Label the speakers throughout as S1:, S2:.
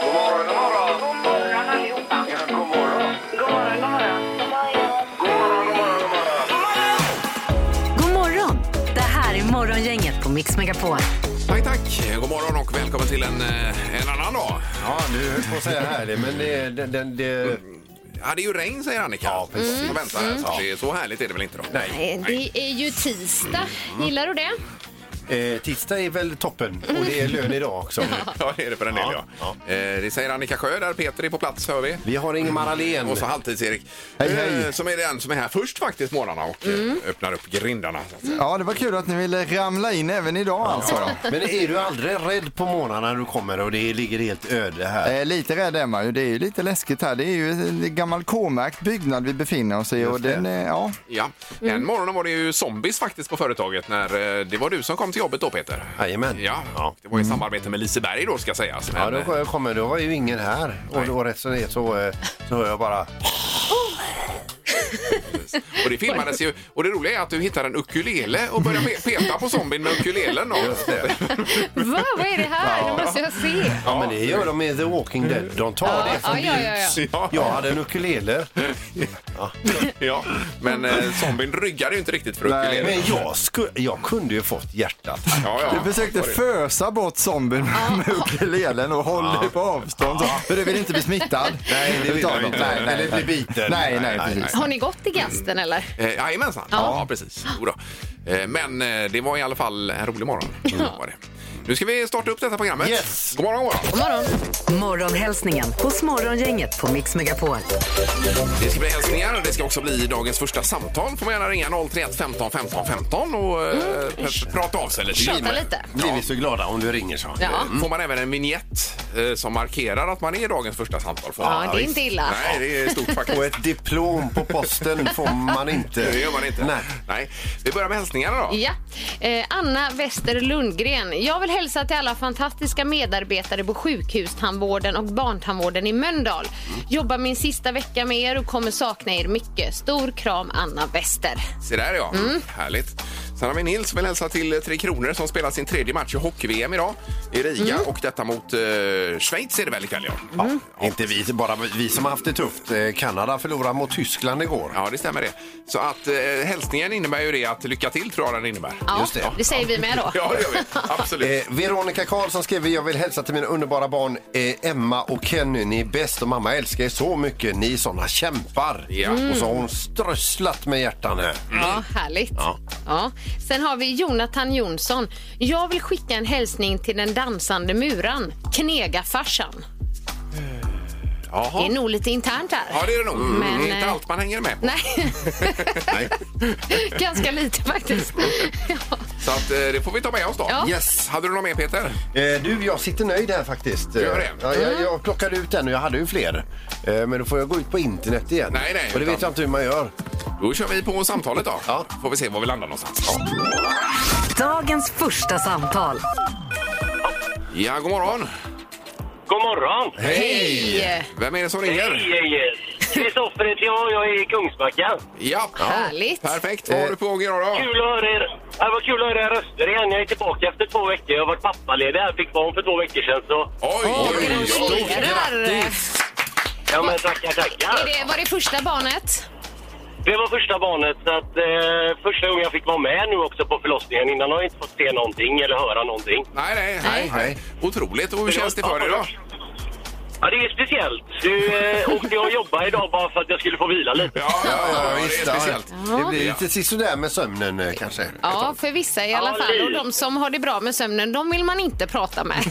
S1: God morgon, god morgon.
S2: God morgon allihopa.
S1: Ja, god morgon.
S2: God morgon, god morgon.
S1: God morgon, god morgon, god morgon.
S3: God morgon! Det här är Morgongänget på Mix Megapol.
S4: Tack, tack. God morgon och välkommen till en, eh, en annan dag.
S5: Ja, du höll på att säga härlig, men det... det, det, det
S4: Ja, det är ju regn, säger Annika. Ja, precis. Mm. Vänta, här, så att det är så härligt är det väl inte då?
S5: Nej.
S6: Eh, Det är ju tisdag. Gillar du det?
S5: eh, tisdag är väl toppen och det är lön idag också.
S4: Ja, det är det för en del, ja.
S5: Ja,
S4: Eh, det säger Annika Sjö där. Peter är på plats, hör vi.
S5: Vi har Ingemar Ahlén.
S4: Och så Halvtids-Erik, Eh,
S7: Hej, hej.
S4: som är den som är här först faktiskt morgnarna och eh, öppnar upp grindarna. så att säga.
S7: Ja, det var kul att ni ville ramla in även idag alltså.
S5: Men är du aldrig rädd på morgnarna när du kommer och det ligger helt öde här?
S7: Eh, lite rädd är man ju. Det är ju lite läskigt här. Det är ju en gammal K-märkt byggnad vi befinner oss i. Och den, är- ja.
S4: Ja. En morgon var det ju zombies faktiskt på företaget när eh, det var du som kom till jobbet då, Peter.
S5: Jajamän.
S4: Ja,
S5: Ja. Mm.
S4: det var i samarbete med Liseberg då ska sägas.
S5: Ja,
S4: Men, eh,
S5: då kommer då var ju ingen här och
S4: Nej.
S5: då rätt som det är så, eh, så hör jag bara...
S4: Och det filmades ju. Och det roliga är att du hittar en ukulele och börjar pe- peta på zombien med ukulelen. Och,
S6: Va? Vad är det här? Nu måste jag se.
S5: Ja, men det gör de med The Walking Dead. De tar det
S6: Ja,
S5: som
S6: ja, ja, ja.
S4: ja,
S5: Jag hade en ukulele,
S4: ja. Men eh, zombien ryggade ju inte riktigt för
S7: Nej,
S4: ukulelen.
S5: men jag, sku, jag kunde ju fått hjärtat.
S4: Ja, ja.
S7: Du försökte
S4: Var det-
S7: fösa bort zombien med ukulelen och håll dig på avstånd. Så. För du vill inte bli smittad.
S5: Nej, det vill
S7: Utav
S5: jag
S7: dem.
S5: inte.
S7: Nej, nej.
S5: Eller bli biten.
S7: Nej, nej,
S4: Mm.
S7: precis.
S6: Har ni gått i gasten eller?
S4: Eh, Jajamensan, ja. precis. Jo då. Eh, Men eh, det var i alla fall en rolig morgon. Var det. Nu ska vi starta upp detta programmet.
S5: Mm. Yes.
S4: God morgon, god morgon.
S6: God morgon.
S3: Morgonhälsningen hos Morgongänget på Mix Megapol.
S4: Det ska bli hälsningar. Det ska också bli dagens första samtal. Får man gärna ringa 031 15 15 15 och eh, pr- prata av sig lite.
S6: Mm, Tjata lite.
S5: Blir vi så glada om du ringer så.
S6: Ja.
S4: Mm. Får man även en vignett eh, som markerar att man är dagens första samtal? Får man.
S6: Ja, det är inte illa.
S4: Nej, det är stort
S5: Och
S4: faktiskt.
S5: ett diplom på posten får man inte.
S4: Det gör man inte.
S5: Nej.
S4: Vi börjar med hälsningarna då.
S6: Ja. Eh, Anna Wester Lundgren. Jag vill hälsa till alla fantastiska medarbetare på sjukhustandvården och barntandvården i Mölndal. Jobbar min sista vecka med er och kommer sakna er mycket. Stor kram Anna Wester.
S4: Se där ja,
S6: Mm.
S4: härligt. Sen har vi Nils som vill hälsa till eh, Tre Kronor som spelar sin tredje match i hockey-VM idag i Riga
S6: Mm.
S4: och detta mot eh, Schweiz är det väl ikväll ja.
S5: Ja, Inte vi, bara vi som har haft det tufft. Eh, Kanada förlorade mot Tyskland igår.
S4: Ja, det stämmer det. Så att eh, hälsningen innebär ju det att lycka till tror jag den innebär.
S6: Ja,
S5: Just det.
S6: det säger vi med då.
S4: Ja, det gör vi. Absolut.
S5: Eh, Veronica Karlsson skriver jag vill hälsa till mina underbara barn eh, Emma och Kenny. Ni är bäst och mamma älskar er så mycket. Ni är såna kämpar.
S4: Ja. Mm.
S5: Och så har hon strösslat med hjärtan här.
S6: Ja, härligt. Ja. Sen har vi Jonathan Jonsson. Jag vill skicka en hälsning till den dansande muran, Knegafarsan. Det är
S4: Jaha.
S6: nog lite internt här.
S4: Ja, det är det nog. Mm.
S6: Men,
S4: inte
S6: eh,
S4: allt man hänger med på.
S6: Nej,
S4: Nej.
S6: ganska lite faktiskt. Ja.
S4: Så att, eh, det får vi ta med oss då.
S6: Ja.
S5: Yes.
S4: Hade du något mer Peter?
S5: Eh, du, jag sitter nöjd här faktiskt.
S4: Gör det?
S5: Ja, jag, jag plockade ut den och jag hade ju fler. Eh, men då får jag gå ut på internet igen.
S4: Nej, nej,
S5: Och det vet
S4: utan-
S5: jag inte hur man gör.
S4: Då kör vi på samtalet då.
S5: Ja.
S4: Får vi se var vi landar någonstans.
S3: Dagens första samtal.
S4: Ja, god morgon.
S8: God morgon!
S6: Hej!
S4: Vem är det som ringer?
S8: Hej, hej! Kristoffer heter jag, jag är i Kungsbacka.
S4: Ja.
S6: Härligt.
S4: Perfekt. Vad har du på gång idag då?
S8: Kul att höra er. Ja, vad kul att höra era röster igen. Jag är tillbaka efter två veckor. Jag har varit pappaledig här, fick barn för två veckor sedan. Så...
S4: Oj, oj, oj.
S6: Gratulerar!
S8: Ja, men tackar,
S6: Är
S8: tackar.
S6: det, var det första barnet?
S8: Det var första barnet, så att eh, första gången jag fick vara med nu också på förlossningen. Innan har jag inte fått se någonting eller höra någonting.
S4: Nej, nej, nej,
S6: Nej.
S4: nej. Otroligt. Och hur känns det för dig då?
S8: Ja, det är speciellt. Du eh, åkte jag och jobbade idag bara för att jag skulle få vila lite.
S4: Ja, ja, ja, det är
S5: ja.
S4: speciellt.
S5: Det blir lite sisådär med sömnen eh, kanske.
S6: Ja, för vissa i alla
S8: Ja,
S6: fall. Och
S8: lite.
S6: de som har det bra med sömnen, de vill man inte prata med.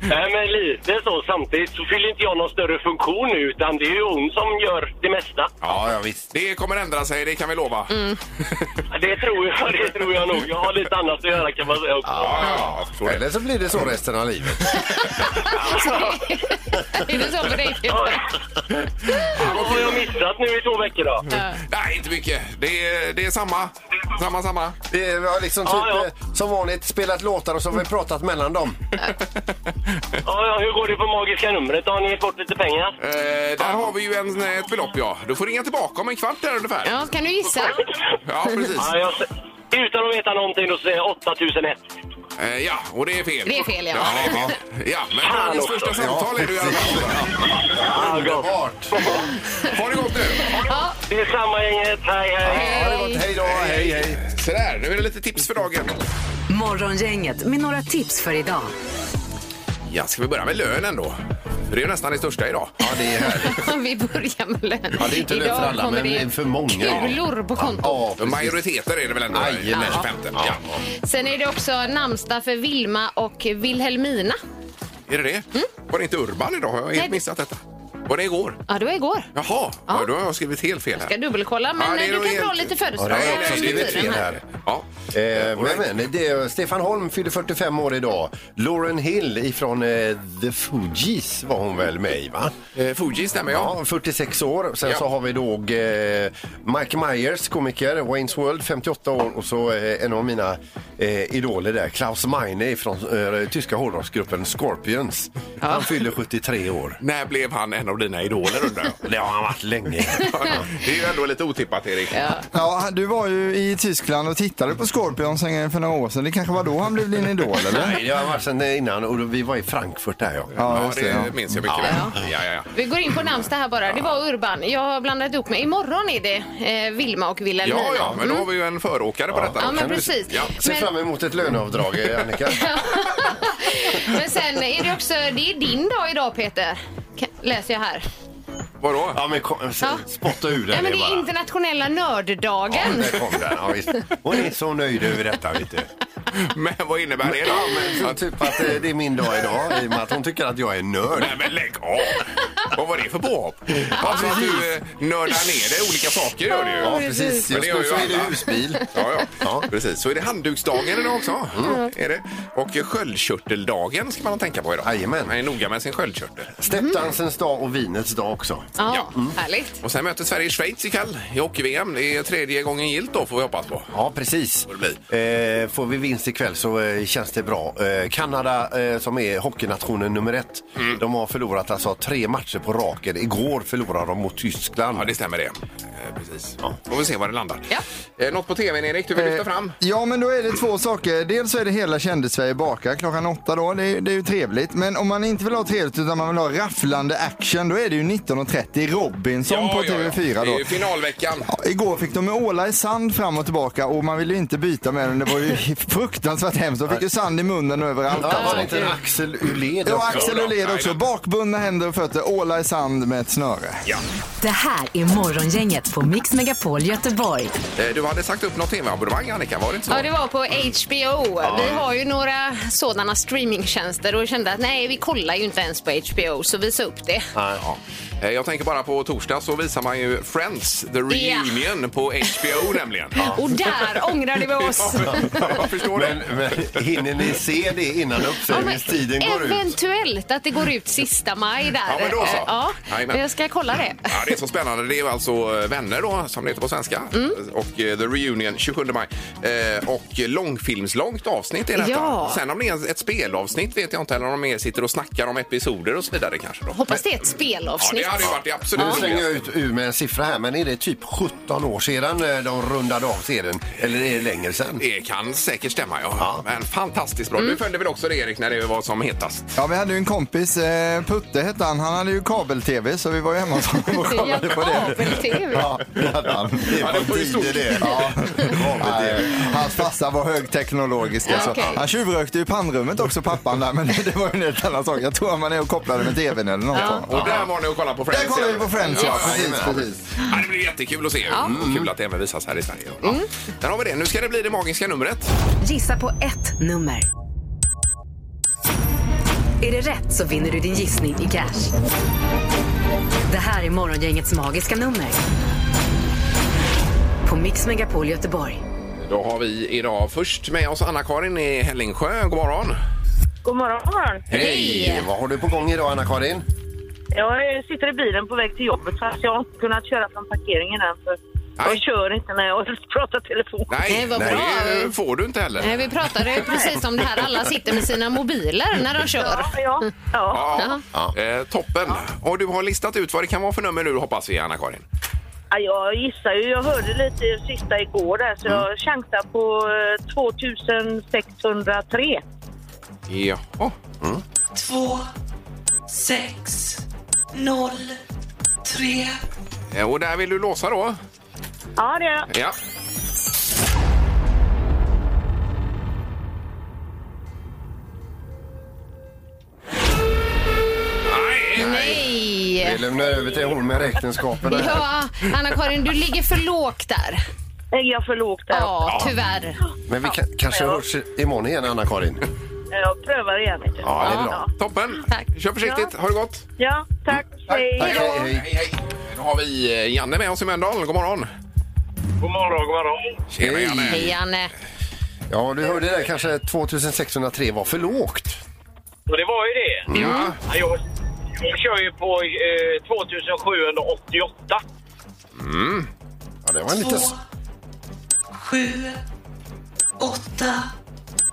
S8: Nej, men lite så. Samtidigt så fyller inte jag någon större funktion nu, utan det är ju hon som gör det mesta.
S5: Ja, ja visst.
S4: Det kommer ändra sig, det kan vi lova.
S6: Mm.
S8: Det tror jag, det tror jag nog. Jag har lite annat att göra kan man säga också.
S4: Ja, jag förstår det.
S5: Eller så blir det så resten av livet.
S6: är det så för dig?
S8: Ja. Vad har jag missat nu i två veckor då?
S4: Nej, inte mycket. Det är, det är samma, samma, samma.
S5: Det var liksom typ
S8: Ja, ja.
S5: eh, som vanligt spelat låtar och så har vi pratat mellan dem.
S8: Ja, ja, hur går det på magiska numret? Har ni gett bort lite pengar?
S4: Eh, där har vi ju en, ett belopp, ja. Du får ringa tillbaka om en kvart där ungefär.
S6: Ja, kan du gissa?
S4: Ja, precis.
S8: Ja, jag, utan att veta någonting då säger jag 8001.
S4: Eh, ja, och det är fel.
S6: Det är fel, ja.
S4: Ja, det är fel. ja men
S8: Fan
S4: dagens
S8: också.
S4: första samtal är du i alla fall.
S8: Ah, gott.
S5: Underbart!
S4: Har det gått nu?
S8: Det är samma gänget. Hej, hej.
S5: Ha det gott. Hej då! Hej, hej!
S4: Så där, nu är det lite tips för dagen.
S3: Morgongänget med några tips för idag.
S4: Ja, ska vi börja med lönen då? För det är ju nästan det största idag.
S5: Ja, det är härligt.
S6: Vi börjar med lön.
S5: Ja, det är inte lön för
S6: Idag
S5: alla,
S6: kommer
S5: men
S6: det
S5: för många.
S6: Kulor på kontot.
S5: Ja, precis.
S4: Majoriteter är det väl ändå?
S5: Jajamän.
S4: 25. Ja.
S6: Sen är det också namnsdag för Vilma och Wilhelmina.
S4: Är det det?
S5: Mm.
S4: Var det inte Urban idag? Jag har
S6: Nej.
S4: helt missat detta. Var det igår?
S6: Ja, det var igår.
S4: Jaha, ja. då har jag skrivit helt fel här.
S6: Ska dubbelkolla, men
S4: Ja, det är
S6: du
S4: nog
S6: kan
S4: helt-
S6: dra lite
S5: Ja,
S6: födelsedagar.
S5: det har jag också
S6: under
S5: skrivit
S6: tiden
S5: fel här.
S4: Ja.
S5: Eh, men, men, det är, Stefan Holm fyllde 45 år idag. Lauren Hill ifrån eh, The Fugees var hon väl med i, va?
S4: Eh, Fuji stämmer ja.
S5: Ja, 46 år. Sen
S4: Ja.
S5: så har vi då eh, Mike Myers, komiker, Wayne's World, 58 år och så eh, en av mina eh, idoler där, Klaus Meine från eh, tyska hårdrocksgruppen Scorpions. Han fyller 73 år.
S4: När blev han en av dina idoler undrar jag?
S5: Det har han varit länge.
S4: Det är ju ändå lite otippat Erik.
S7: Ja, du var ju i Tyskland och tittade på Scorpions en gång för några år sedan. Det kanske var då han blev din idol eller?
S5: Nej, det har han varit sen innan och då- vi var i Frankfurt där ja.
S7: Ja,
S4: Ja,
S7: just det. Ja.
S4: det minns jag mycket väl. Ja, ja, ja.
S6: Vi går in på namnsdag här bara. Det var Urban. Jag har blandat ihop mig. Imorgon är det eh, Vilma och Wilhelmina.
S4: ja, ja men då har vi ju en föråkare på detta.
S6: Mm. Ja, men
S5: Kan du-
S6: precis.
S4: Ja,
S5: Se
S6: Men-
S5: fram emot ett löneavdrag, eh, Annika.
S6: Mm. Men sen är det också, det är din dag idag Peter. Kan- Läser jag här.
S4: Vadå?
S5: Ja, men kom, se-
S6: Ja.
S5: spotta ur
S6: Nej
S5: den
S6: men
S5: nu
S6: det är
S5: bara.
S6: internationella nörddagen.
S5: Där kom den. Ja, visst. Hon är så nöjd över detta, vet du.
S4: Men vad innebär det då?
S5: Ja, men så typ att eh, det är min dag idag i och med att hon tycker att jag är nörd.
S4: Nej men lägg av! Vad var det för påhopp? Alltså att du eh, nördar ner dig i olika saker gör du ju.
S5: Ja, precis.
S4: Men det
S5: Just
S4: gör
S5: nu
S4: ju
S5: så är det
S4: alla.
S5: husbil.
S4: Ja, ja. precis. Så är det handduksdagen idag också.
S5: Mm.
S4: Är det? Och eh, sköldkörteldagen ska man tänka på idag.
S5: Jajamän.
S4: Man är noga med sin sköldkörtel.
S5: Steppdansens dag och vinets dag också.
S6: Ja, härligt.
S4: Och sen möter Sverige Schweiz ikväll i hockey-VM. Det är tredje gången gilt då får vi hoppas på.
S5: Ja, precis.
S4: Får det
S5: Eh, får vi vinst ikväll så eh, känns det bra. Eh, Kanada, eh, som är hockeynationen nummer ett,
S4: Mm.
S5: de har förlorat alltså tre matcher på raken. Igår förlorade de mot Tyskland.
S4: Ja, det stämmer det. Eh, Precis. Får vi se var det landar.
S6: Ja.
S4: Eh, Något på tvn, Erik, du vill
S5: Eh,
S4: lyfta fram?
S7: Ja, men då är det två saker. Dels så är det hela Kändis-Sverige bakar klockan åtta då. Det är, det är ju trevligt. Men om man inte vill ha trevligt utan man vill ha rafflande action, då är det ju 19.30 Robinson på TV4
S4: Det är
S7: då.
S4: ju finalveckan. Eh,
S7: Ja, Igår fick de med ålar i sand fram och tillbaka och man ville ju inte byta med den. Det var ju fruktansvärt hemskt. De fick ju sand i munnen överallt.
S5: Ja, var det
S7: Alltså.
S5: inte Axel Uled
S7: Det var
S5: också?
S7: Axel och led också. Bakbundna händer och fötter, ålar i sand med ett snöre.
S3: Det här är Morgongänget på Mix Megapol Göteborg.
S4: Eh, Du hade sagt upp något tv-abonnemang, Annika, var det inte så?
S6: Ja, det var på HBO. Vi har ju några sådana streamingtjänster och kände att nej, vi kollar ju inte ens på HBO, så vi sa upp det.
S4: Ja. Eh, Jag tänker bara på torsdag så visar man ju Friends, The Reunion på HBO nämligen.
S6: Och där ångrade vi oss.
S4: Jag förstår det.
S5: Men, men hinner ni se det innan uppsägningstiden går ut?
S6: Eventuellt att det går ut sista maj där.
S4: Ja, men då så.
S6: Eh, Ja,
S4: Jajamän.
S6: jag ska kolla det.
S4: Ja, det är så spännande. Det är ju alltså eh, Vänner då, som det heter på svenska.
S6: Mm.
S4: Och eh, The Reunion 27 maj. Eh, Och långfilmslångt avsnitt är detta.
S6: Ja.
S4: Sen om det är ett spelavsnitt vet jag inte. Eller om de mer sitter och snackar om episoder och så vidare kanske. Då.
S6: Hoppas det är ett
S4: Ja,
S6: spelavsnitt.
S4: det hade ju varit det absolut
S5: Nu slänger jag
S4: roligaste.
S5: ut ur med en siffra här, men är det typ 17 år sedan eh, de rundade av serien? Eller är det längre sedan?
S4: Det kan säkert stämma, ja.
S5: Ja.
S4: Men fantastiskt bra.
S6: Mm.
S4: Du följde väl också det, Erik, när det var som hetast?
S7: Ja, vi hade ju en kompis, eh, Putte hette han. Han hade ju kabel-tv så vi var ju hemma hos honom och kollade på det.
S6: Kabel-tv.
S7: Ja, det hade han.
S5: Det
S4: Ja, det var ju stort.
S5: det. Ja.
S7: Nej, Hans farsa var högteknologisk. Alltså.
S6: Okej.
S7: Han tjuvrökte ju pannrummet också, pappan där. Men det var ju en helt annan sak. Jag tror att man är och kopplade med tvn eller något.
S4: Och där var ni och kollade på Friends.
S7: Där kollar vi på Friends, ja. Precis,
S4: jajamän.
S7: precis.
S4: Ja, det blir jättekul att se. Och kul att det även visas här i Sverige. Ja. Där har vi det. Nu ska det bli det magiska numret.
S3: Gissa på ett nummer. Är det rätt så vinner du din gissning i cash. Det här är Morgongängets magiska nummer. På Mix Megapol Göteborg.
S4: Då har vi idag först med oss Anna-Karin i Hällingsjö. God morgon!
S2: God morgon, god morgon.
S5: Hej! Vad har du på gång idag, Anna-Karin?
S2: Jag eh, sitter i bilen på väg till jobbet fast jag har inte kunnat köra från parkeringen än. För
S4: Nej.
S2: jag kör inte när jag pratar telefon.
S6: Nej, vad bra.
S4: det får du inte heller.
S6: Nej, vi pratade ju precis om det här. Alla sitter med sina mobiler när de kör.
S2: Ja, ja, ja.
S4: Ja, Eh, toppen. Och du har listat ut vad det kan vara för nummer nu hoppas vi, Anna-Karin.
S2: Ja, jag gissar ju. Jag hörde lite i det sista igår där, så
S6: Mm.
S2: jag chansar på eh, 2603.
S4: Jaha.
S9: två, sex, noll, tre.
S4: Eh, Och där vill du låsa då?
S2: Ja, det är jag.
S4: Ja. Nej, nej.
S6: Nej!
S5: Vi lämnar över till hon med räkenskaperna. här.
S6: Ja, Anna-Karin, du ligger för lågt där.
S2: Är jag för lågt där?
S6: Ja, tyvärr.
S5: Men vi kan, kanske hörs imorgon igen, Anna-Karin.
S2: Jag Eh, prövar igen. vet du.
S5: Ja, det är bra.
S4: Toppen.
S6: Tack.
S4: Kör försiktigt. Ha det gott.
S2: Ja, tack. Hej
S5: Tack,
S2: då.
S5: hej, hej.
S4: Hej, hej. Då har vi eh, Janne med oss i Mölndal. God morgon.
S8: God morgon, god morgon.
S4: Tjena,
S6: Hej,
S4: Janne.
S6: Janne.
S5: Ja, du hörde där kanske 2603 var för lågt.
S8: Och det var ju det.
S4: Ja.
S8: Ja, Jag, jag kör ju på eh, 2788.
S4: Mm.
S5: Ja, det var en liten...
S9: Två, sju, åtta,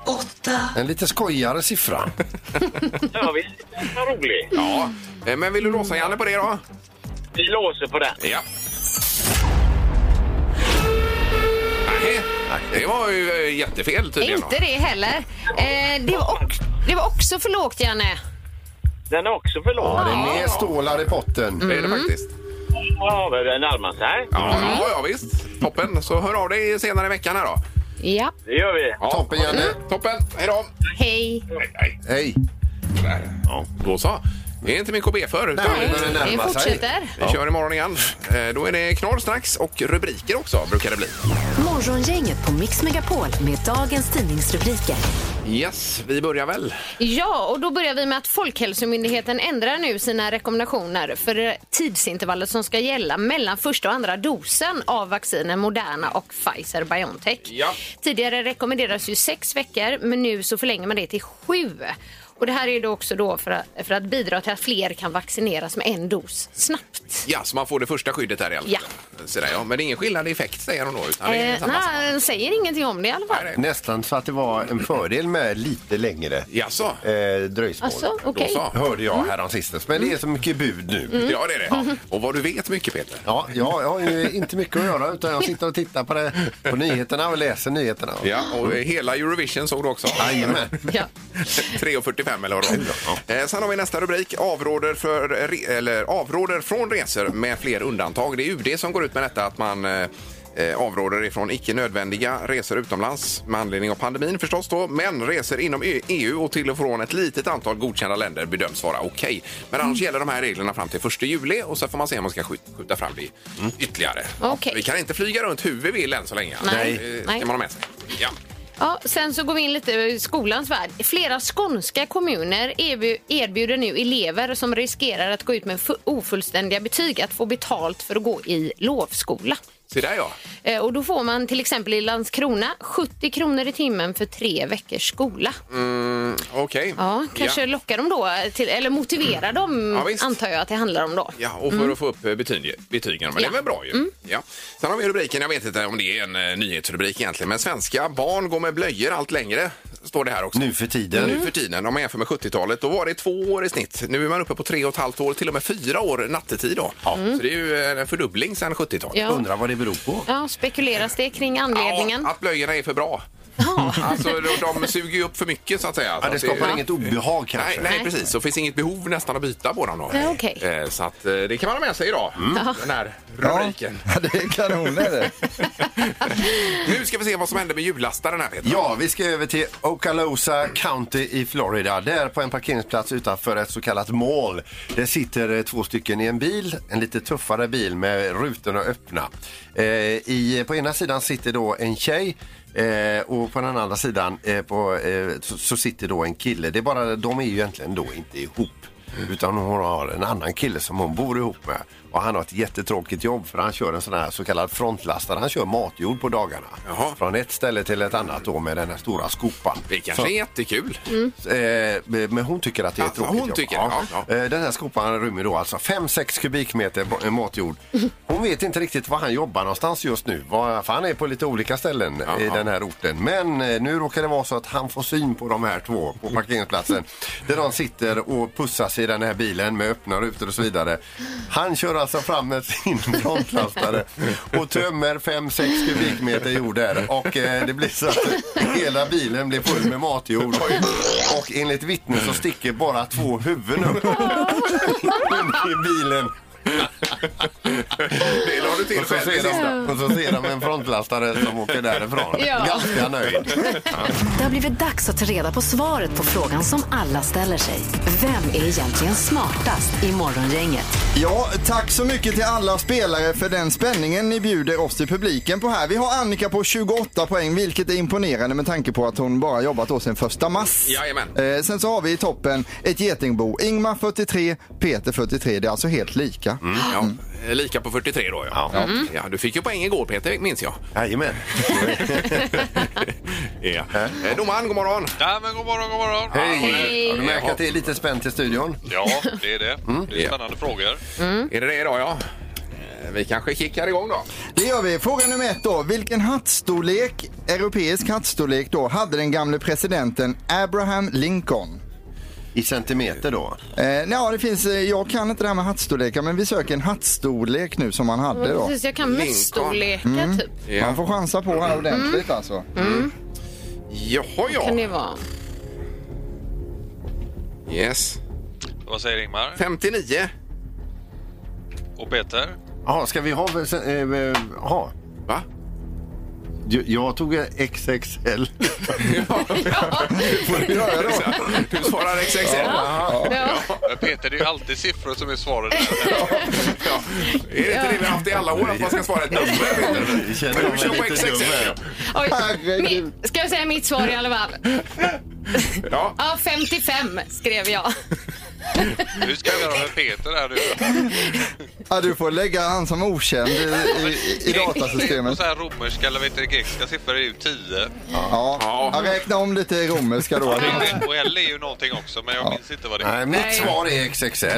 S9: åtta.
S5: En lite skojigare siffra.
S8: Ja, visst. Vad rolig.
S4: ja. Eh, Men vill du låsa Janne på det då?
S8: Vi låser på den.
S4: Ja. Nej, det var ju eh, jättefel tydligen.
S6: Inte det heller. Eh, det, var också, det var också för lågt, Janne.
S8: Den är också för låg.
S5: Ja, det är mer stålar i potten. Mm.
S4: Det är det faktiskt.
S8: Ja, men den närmar sig.
S4: Ja, ja, ja, visst. Toppen. Så hör av dig senare i veckan här då.
S6: Ja,
S8: Det gör vi.
S4: Ja.
S5: Toppen, Janne.
S4: Toppen. Hej då.
S6: hej.
S4: Nej, nej.
S5: Hej.
S4: Ja, då så. Det är inte mycket att be för. utan
S5: Nej. börjar närma
S6: Vi
S5: sig.
S6: fortsätter.
S4: Vi kör imorgon igen. Eh, Då är det knorr strax och rubriker också brukar det bli.
S3: Morgongänget på Mix Megapol med dagens tidningsrubriker.
S4: Yes, vi börjar väl.
S6: Ja, och då börjar vi med att Folkhälsomyndigheten ändrar nu sina rekommendationer för tidsintervallet som ska gälla mellan första och andra dosen av vaccinen Moderna och Pfizer-Biontech.
S4: Ja.
S6: Tidigare rekommenderas ju sex veckor, men nu så förlänger man det till sju. Och det här är ju då också då för att, för att bidra till att fler kan vaccineras med en dos snabbt.
S4: Ja, så man får det första skyddet här i alla fall. Så där, ja. Men det är ingen skillnad i effekt säger de då. Utan Alltså, det är
S6: Eh,
S4: samma sak.
S6: nej, den säger ingenting om det i alla fall.
S5: Nästan så att det var en fördel med lite längre
S4: Jaså?
S5: eh, dröjsmål.
S6: Alltså, okej. Mm.
S4: så.
S5: Hörde jag häromsistens. Men det är så mycket bud nu.
S4: Ja, det är det. Och vad du vet mycket, Peter.
S5: Ja, jag, jag har ju inte mycket att göra utan jag sitter och tittar på, det, på nyheterna och läser nyheterna.
S4: Ja, och hela Eurovision såg du också.
S5: Jajamän.
S6: Ja.
S4: 3.45 eller vad det var. Eh, Sen har vi nästa rubrik. Avråder, för, re- eller, avråder från resor med fler undantag. Det är UD som går ut med detta att man eh, eh, avråder ifrån icke nödvändiga resor utomlands med anledning av pandemin förstås då. Men resor inom E- EU och till och från ett litet antal godkända länder bedöms vara okej. Men annars gäller de här reglerna fram till 1 juli och så får man se om man ska skjut- skjuta fram det ytterligare.
S6: Okej.
S4: Vi kan inte flyga runt hur vi vill än så länge.
S6: Nej.
S4: Eh,
S6: Nej.
S4: ska man ha med sig. Ja.
S6: Ja, sen så går vi in lite i skolans värld. Flera skånska kommuner erbu- erbjuder nu elever som riskerar att gå ut med fu- ofullständiga betyg att få betalt för att gå i lovskola.
S4: Se där ja.
S6: Eh, Och då får man till exempel i Landskrona 70 kronor i timmen för tre veckors skola.
S4: Mm, Okej.
S6: Ja, kanske lockar dem då, till, eller motiverar dem
S4: Ja, visst.
S6: antar jag att det handlar om då.
S4: Ja, och för att få upp eh, betyg, betygen. Men det
S6: Mm.
S4: är
S6: Ja.
S4: väl bra ju. Ja. Sen har vi rubriken, jag vet inte om det är en eh, nyhetsrubrik egentligen, men svenska barn går med blöjor allt längre, står det här också.
S5: Nu för tiden.
S4: Nu för tiden, om man jämför med 70-talet, då var det två år i snitt. Nu är man uppe på tre och ett halvt år, till och med fyra år nattetid då. Så det är ju eh, en fördubbling sedan 70-talet.
S6: Ja.
S5: Undrar vad det beror på.
S6: ja, spekuleras det kring anledningen?
S4: Ja, att blöjorna är för bra. Alltså, de, de suger ju upp för mycket så att säga. Så
S5: Ja, det
S4: att
S5: skapar inget obehag
S4: Nej,
S5: kanske.
S4: nej, precis. Så det finns inget behov nästan att byta på dem. Då.
S6: Nej, okej.
S4: Eh, Så att, eh, det kan man ha med sig idag, den här rubriken.
S7: Ja, det är kanon är det.
S4: Nu ska vi se vad som hände med jullastaren här Peter.
S5: Ja, vi ska över till Okaloosa County i Florida. Där på en parkeringsplats utanför ett så kallat mall. Där sitter eh, två stycken i en bil, en lite tuffare bil med rutorna öppna. Eh, i, på ena sidan sitter då en tjej eh, och på den andra sidan eh, på, eh, så, så sitter då en kille. Det är bara, de är ju egentligen då inte ihop. Utan hon har en annan kille som hon bor ihop med. Och han har ett jättetråkigt jobb för han kör en sån här så kallad frontlastare. Han kör matjord på dagarna.
S4: Jaha.
S5: Från ett ställe till ett annat då med den här stora skopan.
S4: Det kanske är jättekul.
S5: Så, eh, men hon tycker att det är ett
S4: Alltså,
S5: tråkigt
S4: hon
S5: jobb.
S4: tycker det, ja.
S5: Eh, Den här skopan rymmer då alltså 5-6 kubikmeter bo- eh, matjord. Hon vet inte riktigt var han jobbar någonstans just nu. Var- För han är på lite olika ställen i
S4: Jaha.
S5: den här orten. Men eh, nu råkar det vara så att han får syn på de här två på parkeringsplatsen. Där de sitter och pussas plats i den här bilen med öppna rutor och så vidare. Han kör alltså fram med sin frontlastare och tömmer 5-6 kubikmeter jord där. Och eh, det blir så att hela bilen blir full med matjord. Och enligt vittnen så sticker bara två huvuden upp i bilen.
S4: Det la du till
S5: Och så,
S4: själv.
S5: ser de, och så ser de en frontlastare som åker därifrån.
S6: Ja.
S5: Ganska nöjd.
S3: Det har blivit dags att ta reda på svaret på frågan som alla ställer sig. Vem är egentligen smartast i Morgongänget?
S7: Ja, tack så mycket till alla spelare för den spänningen ni bjuder oss i publiken på här. Vi har Annika på 28 poäng, vilket är imponerande med tanke på att hon bara jobbat då sedan första mars.
S4: Jajamän.
S7: Eh, sen så har vi i toppen ett getingbo. Ingmar 43, Peter 43. Det är alltså helt lika.
S4: Mm. Ja,
S5: Mm.
S4: lika på 43 då ja. Ja. ja. Du fick ju poäng igår Peter, minns jag.
S5: Jajamän.
S4: Ja. Eh, Domaren, god morgon.
S10: Ja, men god morgon, god morgon.
S5: Hej! Har du märkt att det är lite spänt i studion?
S10: Ja, det är det.
S5: Mm.
S10: Det är
S4: Ja.
S10: spännande frågor.
S4: Mm. Är det det idag ja? Eh, Vi kanske kickar igång då.
S7: Det gör vi. Fråga nummer ett då. Vilken hattstorlek, europeisk hattstorlek då, hade den gamle presidenten Abraham Lincoln?
S5: I centimeter då?
S7: Eh, ja, det finns, eh, jag kan inte det här med hattstorlekar men vi söker en hattstorlek nu som han hade då. Mm.
S6: Precis, jag kan
S4: Lincoln. Mm.
S6: mäststorlekar typ. Mm.
S7: Man får chansa på här ordentligt alltså.
S4: Jaha
S6: Kan det
S4: ja.
S6: vara.
S4: Yes.
S10: Vad säger Ingmar
S4: 59.
S10: och Peter?
S5: Jaha, ska vi ha... eh, eh, Jaha.
S4: Va?
S5: Jag- Jag tog XXL.
S4: Får du göra då? Du svarar XXL.
S6: Ja.
S10: Men Peter, det är ju alltid siffror som är svaret.
S4: Ja. Är det inte det vi har haft i alla år, att man ska svara ett nummer? Peter?
S5: Det känner
S4: Men
S5: jag
S4: du
S5: mig
S4: kör på
S5: lite dum
S4: XXL.
S5: med.
S6: Oj.
S7: Herregud.
S6: Mi- Ska jag säga mitt svar i alla fall?
S4: Ja.
S6: Ja, 55 skrev jag.
S10: Hur ska vi göra med Peter här nu?
S7: Ja, du får lägga han som okänd i, i, i
S10: Och
S7: datasystemet.
S10: så här romerska eller vet du, grekiska siffror är ju 10.
S7: Ja. Ja, räkna om lite i romerska då.
S10: Och L är ju någonting också, men jag minns inte vad det är.
S5: Nej, mitt
S6: Nej.
S5: svar är XXL.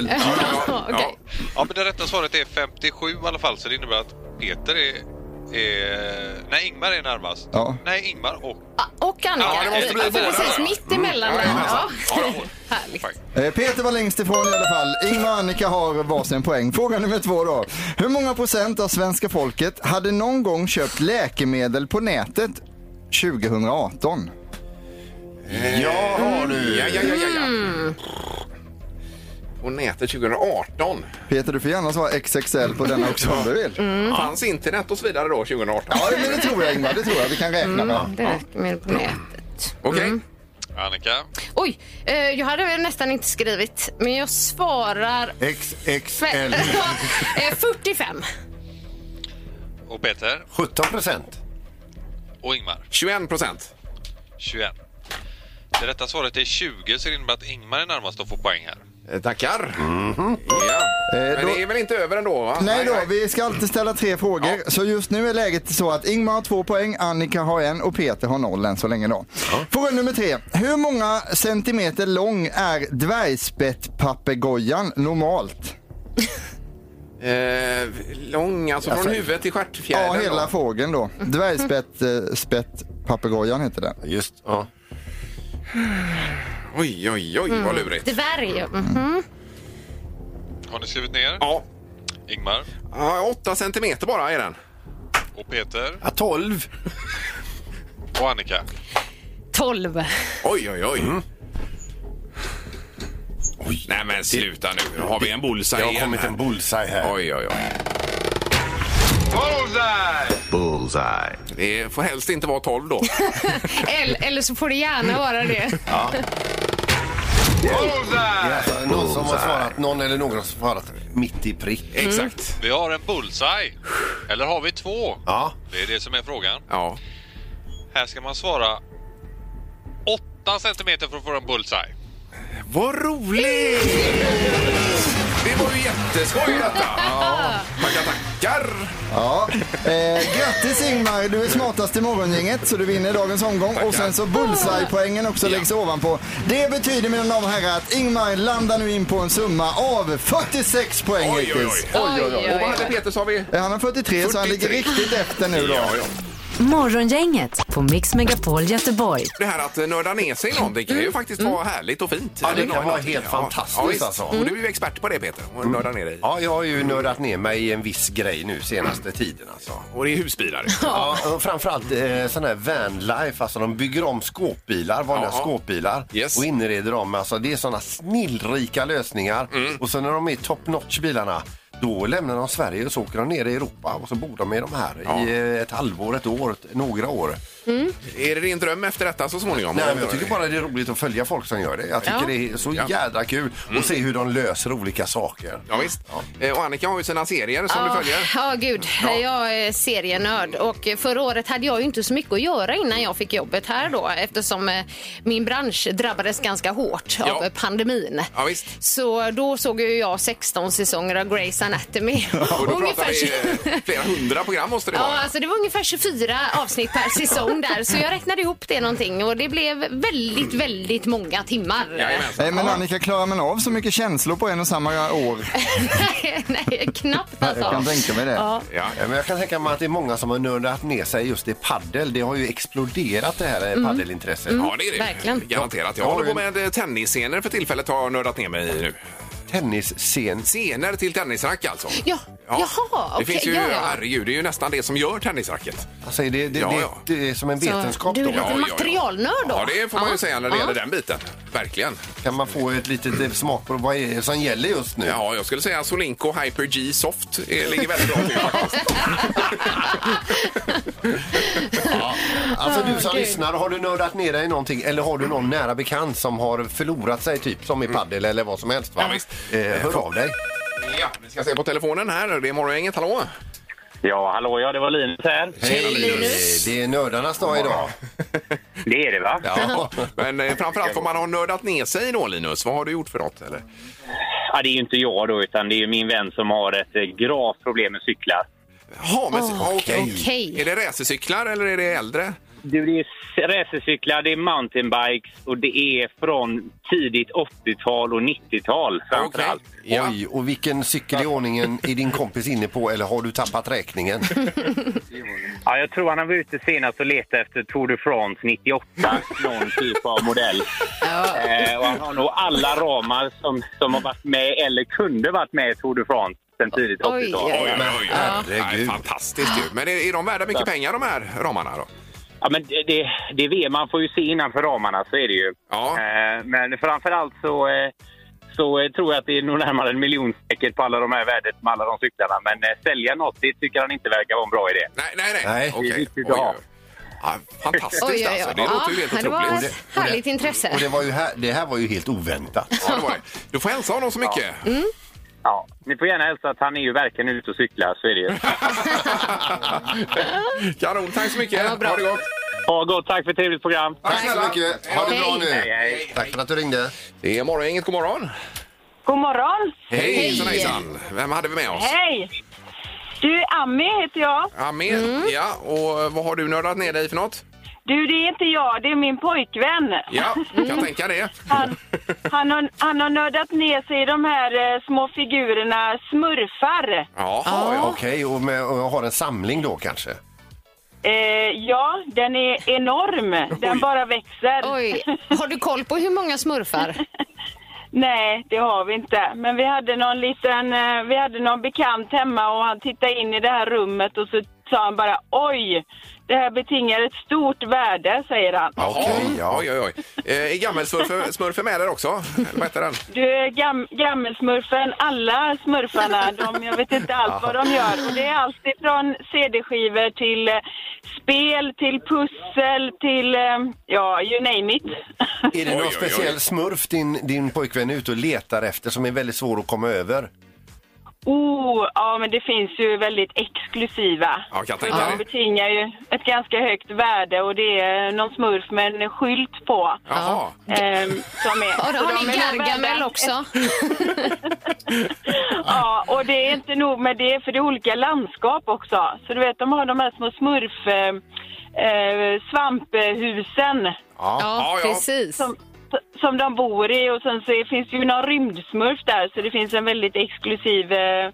S6: Okej.
S10: Ja, men det rätta svaret är 57 i alla fall, så det innebär att Peter är... Är... Nej, Ingmar är närmast.
S7: Ja.
S10: Nej, Ingmar och...
S6: Ah, Och Annika.
S10: Ja, det måste bli båda
S6: Precis,
S10: där.
S6: mitt emellan där. Ja.
S4: Jajamensan. Ja, då.
S6: Härligt.
S7: Eh, Peter var längst ifrån i alla fall. Ingmar och Annika har varsin poäng. Fråga nummer två då. Hur många procent av svenska folket hade någon gång köpt läkemedel på nätet 2018?
S5: Ja, har du.
S4: Mm. Ja, ja, ja, ja, ja.
S6: Mm.
S4: På nätet 2018.
S7: Peter, du får gärna svara XXL på denna också om du vill.
S6: Mm.
S4: Fanns internet och så vidare då 2018?
S7: Ja, men det tror jag Ingmar. Det tror jag. Vi kan räkna med.
S6: Mm, Det räcker med på nätet.
S4: Okej.
S10: Annika?
S6: Oj, eh, jag hade väl nästan inte skrivit, men jag svarar...
S5: XXL.
S6: Eh, 45.
S10: Och Peter?
S5: 17 procent.
S10: Och Ingmar?
S4: 21 procent.
S10: 21. Det rätta svaret är 20, så det innebär att Ingmar är närmast att få poäng här.
S4: eh, Tackar.
S5: Mm.
S4: Ja. Men
S7: Eh, då-
S4: det är väl inte över ändå? Va?
S7: Mm. Nej då, vi ska alltid ställa tre frågor. Så just nu är läget så att Ingmar har två poäng, Annika har en och Peter har noll än så länge då. Fråga nummer tre. Hur många centimeter lång är dvärgspettpapegojan normalt?
S4: Eh, lång, alltså från huvudet till stjärtfjädern?
S7: Ja, hela
S4: då.
S7: fågeln då. Dvärgspett, eh, spettpapegojan heter den.
S5: Just, ja.
S4: Oj, oj, oj, vad lurigt.
S6: Dvärg. Mm.
S10: Har ni skrivit ner?
S4: Ja.
S10: Ingmar
S4: ja, 8 centimeter bara är den.
S10: och Peter
S5: ja 12.
S10: och Annika.
S6: 12.
S4: Oj, oj, oj. oj. Mm. Nej, men sluta nu. Nu har vi en bullseye
S5: Det har
S4: igen
S5: kommit
S4: här.
S5: en bullseye här.
S4: Oj, oj, oj.
S5: Bullseye.
S4: Det får helst inte vara 12 då.
S6: Eller, eller så får det gärna vara det.
S5: någon som har svarat, någon eller några som har svarat mitt i prick. Mm.
S4: Exakt.
S10: Vi har en bullseye. Eller har vi två?
S5: Ja.
S10: Det är det som är frågan.
S4: Ja.
S10: Här ska man svara 8 centimeter för att få en bullseye.
S4: Vad roligt! Det var ju jätteskoj detta. Ja. Tackar, tackar.
S7: Ja. Eh, grattis Ingmar, du är smartast i morgongänget så du vinner dagens omgång. Och sen så bullseye-poängen också läggs ovanpå. Det betyder mina damer och herrar att Ingmar landar nu in på en summa av 46 poäng
S4: Oj, oj, oj.
S7: hittills.
S6: Oj, oj, oj.
S4: Och vad hade Peter, sa vi?
S7: Eh, Han har 43, så han ligger
S4: 43.
S7: riktigt efter nu då.
S4: Ja, ja.
S3: Morgongänget på Mix Megapol Göteborg.
S4: Det här att nörda ner sig i någonting kan ju faktiskt vara härligt och fint.
S5: Mm. Ja, det
S4: Eller
S5: kan vara
S4: någonting.
S5: helt
S4: Ja,
S5: fantastiskt
S4: ja, visst.
S5: alltså. Mm.
S4: Och du är ju expert på det Peter, och nörda ner dig.
S5: Ja, jag har ju nördat ner mig i en viss grej nu senaste tiden alltså.
S4: Och det är husbilar.
S5: Ja, och framförallt eh, sån här vanlife, alltså de bygger om skåpbilar, vanliga
S4: Ja.
S5: skåpbilar
S4: Yes.
S5: och inreder dem. Alltså det är såna snillrika lösningar
S4: Mm.
S5: och sen när de är top notch bilarna då lämnar de Sverige och så åker de ner i Europa och så bor de med de här i eh, ett halvår, ett år, ett- några år.
S4: Är det din dröm efter detta så småningom?
S5: Mm. Nej, men jag tycker bara det är roligt att följa folk som gör det. Jag tycker
S6: Ja.
S5: det är så
S4: Ja. Mm.
S5: jädra kul och se hur de löser olika saker.
S4: Ja, visst. Eh, Och Annika har ju sina serier som
S5: Ah.
S4: du följer.
S6: Ja, gud.
S4: Ja.
S6: Jag är serienörd. Och förra året hade jag ju inte så mycket att göra innan jag fick jobbet här då eftersom eh, min bransch drabbades ganska hårt
S4: Ja.
S6: av pandemin.
S4: Ja, visst.
S6: Så då såg ju jag 16 säsonger av Grey's Anatomy.
S4: Och då pratar
S6: Ungefär
S4: vi eh, flera hundra program måste det
S6: Ja,
S4: vara.
S6: alltså det var ungefär 24 avsnitt per säsong där, så jag räknade ihop det någonting och det blev väldigt, väldigt många timmar.
S4: Jajamensan.
S7: Nej, Eh, men Annika, klarar man av så mycket känslor på en och samma år?
S6: nej, nej, knappt alltså.
S7: Jag kan tänka mig det.
S6: Ja.
S4: Ja.
S5: Ja, Men jag kan tänka mig att det är många som har nördat ner sig just i paddel. Det har ju exploderat det här mm. paddelintresset.
S4: Ja, det är det.
S6: verkligen.
S4: Garanterat. Jag
S5: alltså. Ja,
S4: håller på
S5: men-
S4: med eh, tennisscener för tillfället har jag nördat ner mig i nu.
S5: Tennisscen.
S4: Scener till tennisrack alltså.
S6: Ja, jaha,
S4: Det
S6: okej,
S4: finns ju,
S6: ja, ja.
S4: herregud, det är ju nästan det som gör tennisracket.
S5: Alltså, det, det,
S4: Ja,
S5: det,
S4: ja.
S5: det är som en
S6: Så
S5: vetenskap
S6: du är
S5: då.
S6: lite
S4: Ja, ja, ja.
S6: materialnörd då?
S4: Ja, det får man ju
S6: Ja.
S4: säga när det
S6: Ja.
S4: gäller den biten. Verkligen.
S5: Kan man få ett litet eh, smak på vad är det som gäller just nu?
S4: Ja, jag skulle säga Solinco Hyper G Soft eh, ligger väldigt bra till faktiskt.
S5: Alltså du som
S6: Okej.
S5: lyssnar, har du nördat ner dig i någonting eller har du någon nära bekant som har förlorat sig typ som i paddel eller vad som helst? Va?
S4: Mm. Ja, visst.
S5: Eh, hör av dig.
S4: Ja, vi ska se på telefonen här. Det är Morgongänget, hallå?
S8: Ja, hallå ja, det var Linus här.
S5: Hej Linus! Det är nördarnas dag idag.
S8: Det är det va?
S5: Ja.
S4: Men eh, framförallt om man har nördat ner sig då, Linus. Vad har du gjort för något? Eller?
S8: Ja, det är ju inte jag då, utan det är ju min vän som har ett eh, gravt problem med cyklar.
S4: Jaha, men
S6: Åh,
S4: oh, okej.
S6: okej.
S4: Är det racercyklar eller är det äldre?
S8: Du, det är s- racercyklar, det är mountainbikes och det är från tidigt 80-tal och 90-tal framförallt.
S4: Okej. Ja.
S5: Oj, och vilken cykel i ordningen är din kompis inne på eller har du tappat räkningen?
S8: Ja, jag tror han var ute senast och letade efter Tour de France 98, någon typ av modell. Eh, och han har nog alla ramar som, som har varit med eller kunde varit med i Tour de France sen tidigt
S6: Oj,
S8: 80-tal.
S6: oj,
S4: Men herregud. Nej,
S5: Herregud.
S4: fantastiskt ju. Men är, är de värda mycket pengar de här ramarna då?
S8: Ja, men det, det, det är VM, man får ju se innanför ramarna, så är det ju.
S4: Ja.
S8: Eh, men framförallt så, eh, så eh, tror jag att det är nog närmare en miljon säkert på alla de här värdet med alla de cyklarna. Men eh, sälja något, det tycker han inte verkar vara en bra idé.
S4: Nej, nej, nej.
S5: Nej.
S4: Okej.
S8: Det är viktigt
S4: Oj,
S8: att ha.
S4: oj, oj. Ja, fantastiskt
S6: Oj, oj, oj.
S4: alltså. Det låter ju helt
S6: ja, det var
S4: otroligt.
S6: ett härligt intresse.
S5: Och det, var ju här, det här var ju helt oväntat.
S4: Ja, det var det. Du får hälsa honom så mycket.
S6: Mm.
S8: Ja, ni får gärna hälsa att han är ju verkligen ute och cyklar, så är det ju.
S4: Kanon, tack så mycket.
S6: Ja, bra.
S4: Ha det gott.
S8: Ha gott, tack för ett trevligt program.
S5: Tack så mycket. Ha det bra nu. Tack för att du ringde.
S4: Det är morgongänget, god morgon.
S2: God morgon!
S4: Hej, hejsan, hejsan. Vem hade vi med oss?
S2: Hej! Du, Ami heter jag.
S4: Amir.
S5: Mm.
S4: Ja, och eh, vad har du nördat ner dig för något?
S2: Du, det är inte jag, det är min pojkvän.
S4: Ja, kan tänka det.
S2: Han, han, har, han har nördat ner sig i de här eh, små figurerna smurfar.
S4: Jaha, ja.
S5: Okej, och, med, och har en samling då kanske?
S2: Eh, ja, den är enorm. Den bara växer.
S6: Oj, har du koll på hur många smurfar?
S2: Nej, det har vi inte. Men vi hade någon liten, eh, vi hade någon bekant hemma och han tittade in i det här rummet och så sa han bara oj, det här betingar ett stort värde, säger han.
S5: Okej,
S4: ja.
S5: ja.
S4: Oj, oj, oj. Eh, Är gammelsmurfen med där också? Eller vad heter den?
S2: Du, gam, gammelsmurfen, alla smurfarna, de, jag vet inte allt vad de gör. Och det är allt ifrån CD-skivor till eh, spel, till pussel, till, eh, ja, you name it.
S5: Är det
S4: Oj,
S5: någon
S4: oj, oj.
S5: speciell smurf din, din pojkvän är ute och letar efter som är väldigt svår att komma över?
S2: oh, ja men det finns ju väldigt exklusiva.
S4: Ja, kan tänka
S2: De
S4: det.
S2: betingar ju ett ganska högt värde och det är någon smurf med en skylt på.
S4: Jaha.
S2: ehm, som är,
S6: Har,
S2: så
S6: har
S2: de
S6: ni
S2: är nog
S6: Gargamel
S2: värda-
S6: också?
S2: Ja, och det är inte nog med det, för det är olika landskap också. Så du vet, de har de här små smurf... Eh, eh, svamphusen
S6: Ja,
S4: Ja, ja.
S6: precis.
S2: som, som de bor i och sen så finns det ju någon rymdsmurf där så det finns en väldigt exklusiv eh,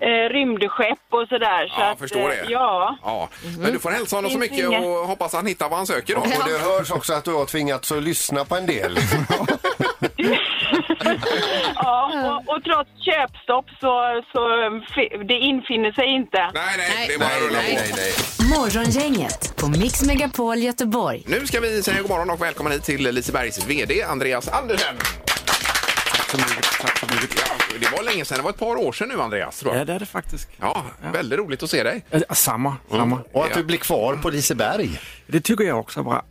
S2: eh, rymdskepp och sådär. så
S4: Ja,
S2: att,
S4: förstår
S2: eh,
S4: det.
S2: Ja.
S4: ja.
S5: Mm-hmm.
S4: Men du får hälsa honom så
S2: Finns
S4: mycket
S2: inget.
S4: och hoppas han hittar vad han söker då.
S5: Och det hörs också att du har tvingats att lyssna på en del.
S2: ja och, och trots köpstopp så, så fi- det infinner sig inte.
S4: Nej, nej,
S6: Nej.
S4: det är bara att rulla på.
S5: nej.
S3: Morgongänget på Mix Megapol Göteborg.
S4: Nu ska vi säga god morgon och välkommen hit till Lisebergs VD Andreas Andersen.
S11: Tack så mycket. Tack så mycket.
S4: Ja, det var länge sedan, det var ett par år sedan nu Andreas. Tror
S11: Ja,
S4: jag.
S11: det är det faktiskt.
S4: Ja, väldigt roligt att se dig.
S11: Eh, Samma, samma.
S5: Mm. Och att du blir kvar på Liseberg.
S11: Det tycker jag också är bra.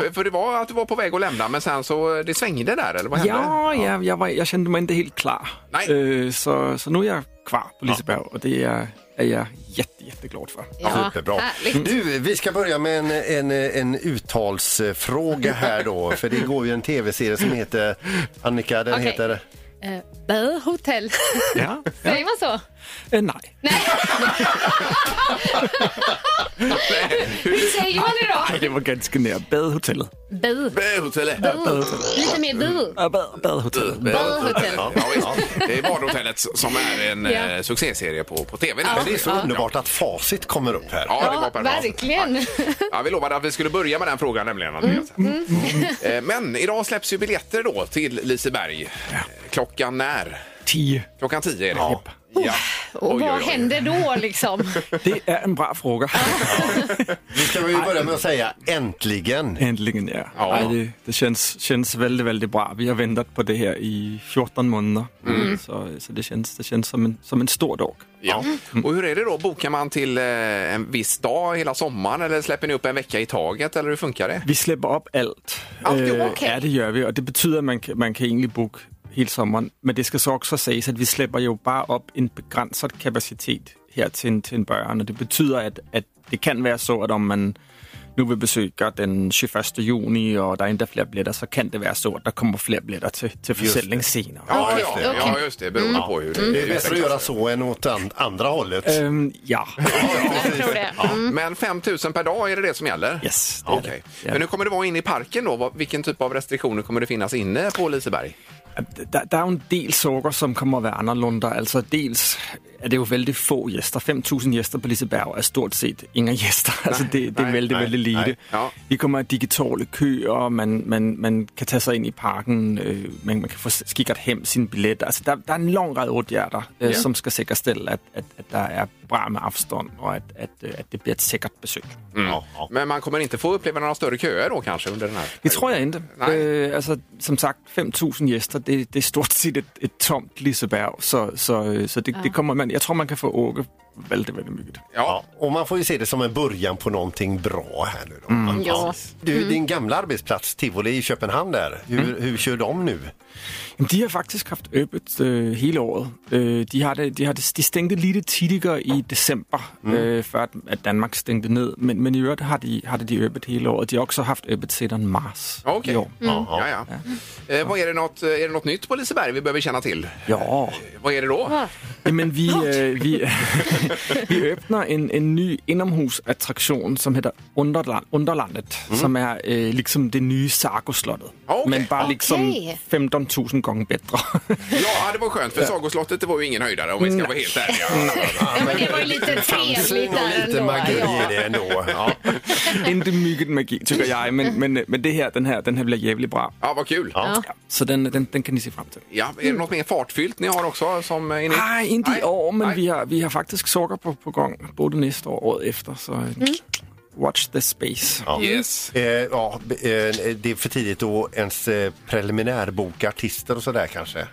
S4: För, för det var att du var på väg att lämna men sen så det svängde där eller vad hände?
S11: Ja, jag, jag, var, jag kände mig inte helt klar.
S4: Nej.
S11: Eh, Så, så nu är jag kvar på Liseberg och det är, är jag jätte, jätteglad för.
S6: Ja,
S5: Superbra.
S6: härligt.
S5: Du, vi ska börja med en, en, en uttalsfråga här då. För det går ju en tv-serie som heter, Annika, den
S6: Okej.
S5: heter...
S6: Eh, Bö hotell.
S11: Ja.
S6: Säger man så?
S11: Eh, Nej.
S6: Hur säger man idag?
S11: Nej, det var ganska nära. Badhotellet.
S6: Bö.
S4: Böhotellet.
S6: Bö. Lite mer bö.
S11: Ja, bad- Badhotellet.
S6: Böhotell.
S4: Ja, visst. Det är Badhotellet som är en
S6: Ja.
S4: eh, succéserie på, på tv.
S5: Men det är så underbart att facit kommer upp här.
S4: Ja, det var
S6: Ja,
S4: perfekt.
S6: verkligen.
S4: Ja, vi lovade att vi skulle börja med den frågan nämligen.
S11: Mm.
S4: Andreas.
S6: Mm.
S4: Eh, Men idag släpps ju biljetter då till Liseberg. Eh, Klockan när?
S11: Tio.
S4: Klockan 10 är det. Ja. ja.
S6: Och
S4: Oj,
S6: vad
S4: oj, oj.
S6: händer då liksom?
S11: Det är en bra fråga.
S5: Vi ska väl börja med att säga äntligen.
S11: Äntligen, ja.
S4: Ja.
S11: Nej, det, det känns, känns väldigt, väldigt bra. Vi har väntat på det här i 14 månader.
S5: Mm.
S11: Så, så det känns, det känns som, en, som en stor dag.
S4: Ja. Och hur är det då? Bokar man till eh, en viss dag hela sommaren eller släpper ni upp en vecka i taget eller hur funkar det?
S11: Vi släpper upp allt.
S4: Allt är
S11: Eh,
S4: okej.
S11: Ja, det gör vi. Och det betyder att man, kan- man kan egentligen boka hela sommaren. Men det ska så också sägas att vi släpper ju bara upp en begränsad kapacitet här till, till en början. Och det betyder att, att det kan vara så att om man nu vill besöka den 21 juni och det är inte fler biljetter så kan det vara så att det kommer fler biljetter till, till försäljning senare.
S4: Ja,
S5: Okej.
S4: ja, ja just det. Beroende på hur det, Ehm.
S5: Det är
S4: hur
S5: bättre att göra så än åt and- andra hållet.
S11: Øhm, ja.
S6: Jag tror det.
S4: Mm. Men 5 000 per dag, är det det som gäller?
S11: Yes, det är
S4: Okej.
S11: det. Ja.
S4: Men hur kommer det vara inne i parken då? Vad- Vilken typ av restriktioner kommer det finnas inne på Liseberg?
S11: Der, der er jo en del saker, som kommer at være anderledes. Altså dels er det jo vældig få gæster. 5.000 gæster på Liseberg er stort set ingen gæster. altså det, det er
S5: nej,
S11: vældig,
S5: nej,
S11: vældig lite.
S5: nej.
S4: Ja.
S11: Vi kommer af digitale køer, man, man, man kan tage sig ind i parken, øh, man, man kan få skikket hjem sine billetter. Altså der, der er en lang række åtgärder, øh, som skal sikkerstille, at, at, at der er bra med afstand, og at, at, øh, at det bliver et sikkert besøg.
S5: Ja, ja.
S4: Men man kommer inte få uppleva några större köer då kanske under den här?
S11: Det tror jeg ikke.
S4: Nej.
S11: Øh, altså, som sagt, 5.000 gæster, det, det er stort set et, et tomt Liseberg, så, så, øh, så det, det kommer man... Jeg tror, man kan få åke vældig, vældig mycket.
S4: Ja.
S5: Ja, och man får ju se det som en början på någonting bra här nu då.
S11: Mm.
S6: Ja. Mm.
S5: Du, din gamla arbetsplats Tivoli i Köpenhamn där, hur,
S11: Mm.
S5: hur kör de nu?
S11: Jamen, de har faktisk haft øbet øh, hele året. Øh, de, har det, de har det, de stængte lidt tidligere i december,
S4: Mm.
S11: øh, før at- at Danmark stængte ned, men, men i øvrigt har de, har det de øbet hele året. De har også haft øbet siden mars
S4: Okej.
S11: i
S6: Mm.
S11: år.
S4: Ja, Mm. ja. Eh, vad är, det något, är det något nytt på Liseberg vi behöver känna till?
S11: Ja.
S4: Vad är det då?
S11: Jamen, vi, øh, vi, vi åbner en, en ny indomhusattraktion, som hedder Underland, Underlandet, som er øh, liksom det nye Sarkoslottet.
S4: Mhm. Okay.
S11: Men bare liksom
S6: Okay.
S11: 15.000 gange bedre.
S4: Ja, det var skönt för Sagoslottet det var ju ingen höjdare om vi
S11: Mm.
S4: ska vara helt ärliga.
S6: Ja, men det var ju lite trevligt
S5: Framsyn och
S6: där
S5: lite
S6: ändå.
S5: magi i
S6: Ja.
S5: det ändå. Ja.
S11: Inte mycket magi, tycker jag, men, men, men det her, den her, den her bliver jævlig bra.
S4: Ja, vad kul. Ja.
S11: Ja, så den, den, den kan ni se frem till.
S4: är
S6: Mm.
S4: det något mer fartfyllt ni har också som eh, är nytt?
S11: Nej, inte i år, men
S4: Nej.
S11: vi har, vi har faktiskt socker på, på gång, både nästa år och året efter. Så øh, watch the space.
S4: Yes.
S5: Eh, ja, b- eh, det är för tidigt att ens eh, preliminärboka artister och sådär kanske.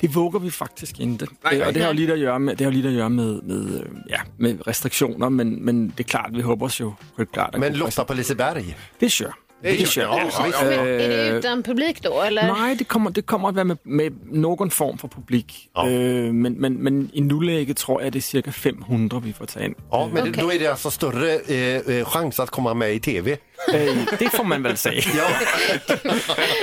S11: Det vågar vi faktisk ikke.
S4: Nej,
S11: Øh,
S4: nej.
S11: og det har jo lidt at gøre med, det har jo lidt at gøre med, med, øh, ja, med restriktioner, men, men det er klart, vi håber os jo helt klart. at
S5: Men
S11: kunne-
S5: Lotta på Liseberg,
S11: Det kör.
S4: Det
S11: kör.
S4: Ja, ja, ja.
S6: Men är det utan publik då eller?
S11: Nej, det kommer, det kommer att vara med, med någon form för publik.
S5: Ja.
S11: Øh, men, men, men i nuläget tror jag det är cirka 500 vi får ta in.
S5: ja, men det-
S6: Okej.
S5: då är det alltså större eh, eh, chans att komma med i tv.
S11: Øh, det får man väl säga.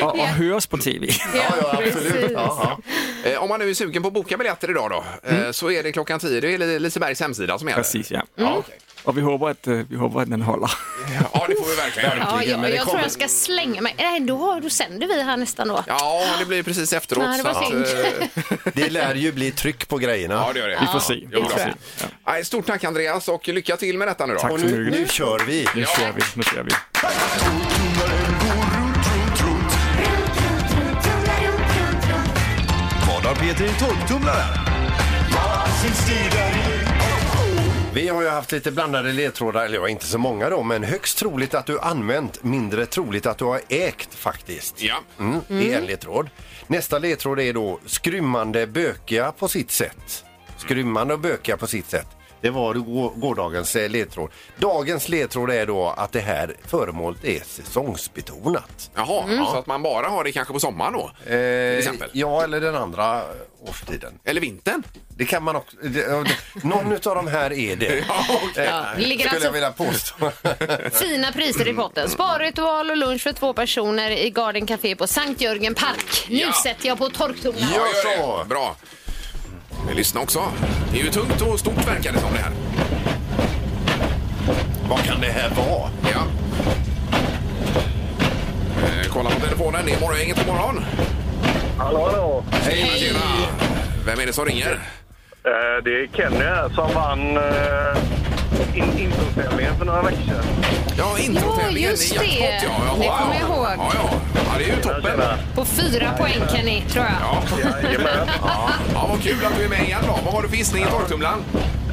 S11: och, och höras på tv.
S5: Ja, ja, absolut. Ja, ja.
S4: Eh, Om man nu är sugen på att boka biljetter idag då, eh, så är det klockan 10. Det är Li- Lisebergs hemsida som gäller.
S11: Mm. Precis, ja.
S4: Ja, okej.
S11: Och vi hoppas att, øh, vi hoppas att den håller.
S4: ja, det får vi verkligen.
S6: Ja,
S5: Verkligen, men
S6: jag,
S5: det
S6: jag tror
S5: kommer-
S6: jag ska slänga mig. Nej, då, då sänder vi här nästan då.
S4: Ja, det blir precis efteråt.
S6: Nej, det
S4: så
S6: var
S4: att,
S6: synd.
S4: eh,
S5: Det lär ju bli tryck på grejerna.
S4: ja, det gör det.
S11: Vi får se.
S4: Jo,
S11: Vi får
S4: då.
S11: se.
S4: Nej, stort tack Andreas och lycka till med detta nu då.
S11: Tack
S5: Och
S11: så
S5: nu,
S11: mycket.
S5: nu kör vi.
S11: Nu kör vi. Nu kör vi.
S12: Vad har Peter i torktumlaren?
S5: Vi har ju haft lite blandade ledtrådar, eller ja, inte så många då, men högst troligt att du använt, mindre troligt att du har ägt faktiskt.
S4: Ja.
S5: Mm, det är en ledtråd. Nästa ledtråd är då skrymmande bökiga på sitt sätt. Skrymmande och bökiga på sitt sätt. Det var gå- gårdagens eh, ledtråd. Dagens ledtråd är då att det här föremålet är säsongsbetonat.
S4: Jaha,
S11: Mm.
S4: så att man bara har det kanske på sommaren då? till exempel.
S5: Eh, ja, eller den andra årstiden.
S4: Eller vintern?
S5: Det kan man också. Det, ja, det- någon av de här är det.
S4: Ja, okej.
S5: Eh,
S6: Det ligger
S5: Skulle
S6: alltså-
S5: jag vilja påstå.
S6: Fina priser i potten. Sparritual och lunch för två personer i Garden Café på Sankt Jörgen Park. Nu
S4: Ja.
S6: sätter jag på torktumlaren.
S4: Ja, gör det.
S5: så.
S4: Bra. Vi lyssnar också. Det är ju tungt och stort verkar det som det här.
S5: Vad kan det här vara?
S4: Ja. Eh, kolla på telefonen. Det är Morgongänget. God morgon!
S1: Hallå, hallå.
S4: Hej! Tjena! Vem är det som ringer?
S1: Eh, Det är Kenny här som vann eh, in- introtävlingen för några veckor sedan.
S4: Ja, introtävlingen.
S6: just
S4: i jackpot,
S6: det.
S4: Ja, ja,
S6: Det
S4: ja.
S6: kommer jag ihåg.
S4: Ja, ja. ja, det är ju toppen.
S1: Tjena.
S6: På fyra poäng kan ni, tror jag.
S4: Ja.
S1: Jajamän.
S4: ja, vad kul att du är med igen då. Vad har du för gissning i torktumlaren?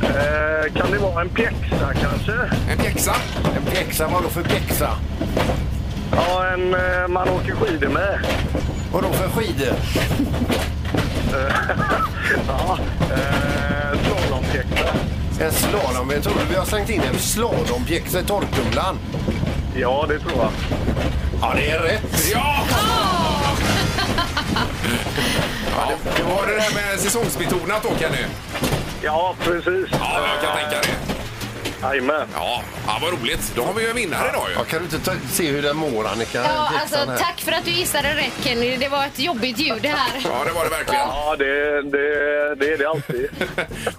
S1: Eh, Kan det vara en pjäxa kanske?
S4: En pjäxa?
S5: En pjäxa, vadå för pjäxa?
S1: Ja, en eh, man åker skidor med.
S5: Vadå för skidor?
S1: Ja, eh, slalompjäxa.
S5: En slalom? Jag trodde vi har slängt in en slalompjäxa i torktumlaren.
S1: Ja, det tror jag.
S5: Ja, det är rätt.
S4: Ja! ja det var det där med säsongsbetonat då Kenny.
S1: Ja, precis.
S4: Ja, jag kan tänka det.
S1: Jajamän.
S4: Ja, ja vad roligt. Då har vi ju en vinnare idag ju.
S5: Ja, kan du inte ta, se hur den mår, Annika?
S6: Ja,
S5: Pjäxan
S6: alltså,
S5: här.
S6: tack för att du gissade rätt, Kenny. Det var ett jobbigt ljud det här.
S4: Ja, det var det verkligen.
S1: Ja, det, det, det är det alltid.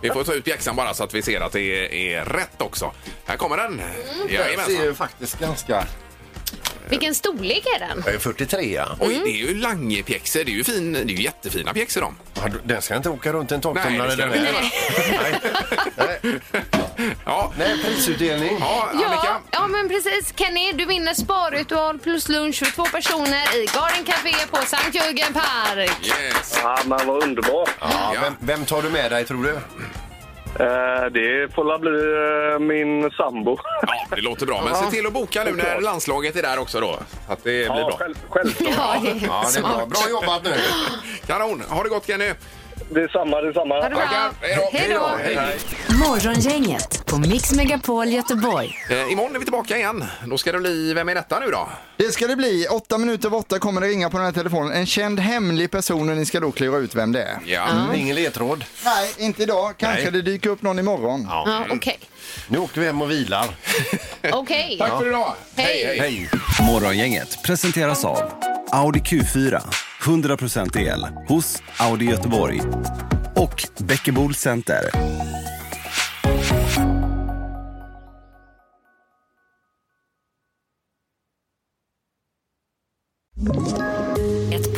S4: Vi får ta ut pjäxan bara så att vi ser att det är, är rätt också. Här kommer den.
S5: Den
S4: Jajamensan.
S5: ser ju faktiskt ganska...
S6: Vilken storlek är den?
S5: Jag är 43. Ja,
S4: Oj, det är ju langepjäxor. Det är ju, fin, det är ju jättefina pjäxor de.
S5: den ska inte åka runt en
S4: Nej, det
S5: torktumlare.
S4: ska
S5: den
S4: den
S5: här. Nej. Nej.
S4: Ja,
S5: Nej, prisutdelning.
S4: ja
S6: Ja,
S4: Annika.
S6: ja, men precis. Kenny, du vinner sparritual plus lunch för två personer i Garden Café på Sankt Jörgen Park.
S4: Yes.
S1: Ja, men vad underbart.
S5: Ja,
S4: Ja.
S5: Vem, vem tar du med dig, tror du?
S1: Eh, Det får la bli eh, min sambo.
S4: Ja, det låter bra. Men se till att boka nu när landslaget är där också då. Så Att det blir
S1: Ja,
S4: bra.
S1: själv, självklart.
S6: Ja, det är
S5: Ja, det är bra.
S6: smart.
S5: Bra jobbat nu.
S4: Kanon. Ha det gott Kenny.
S1: Detsamma, detsamma.
S6: Ha det bra.
S4: Tackar. Hej då.
S6: Hej då.
S3: Morgongänget på Mix Megapol Göteborg.
S4: Eh, imorgon är vi tillbaka igen. Då ska det bli Vem är detta nu då?
S7: Det ska det bli. Åtta minuter över åtta kommer det ringa på den här telefonen. En känd hemlig person och ni ska då klura ut vem det är. Mm.
S4: Ja.
S5: Mm, Ingen ledtråd.
S7: Nej, inte idag. Kanske
S5: Nej.
S7: det dyker upp någon imorgon.
S4: Mm.
S6: Ja, Okej.
S5: Nu åker vi hem och vilar.
S6: Okej.
S4: Tack för idag.
S6: Hej.
S5: Hej.
S12: Morgongänget presenteras av Audi Q4. 100% el hos Audi Göteborg. Och Bäckebol Center.
S3: Ett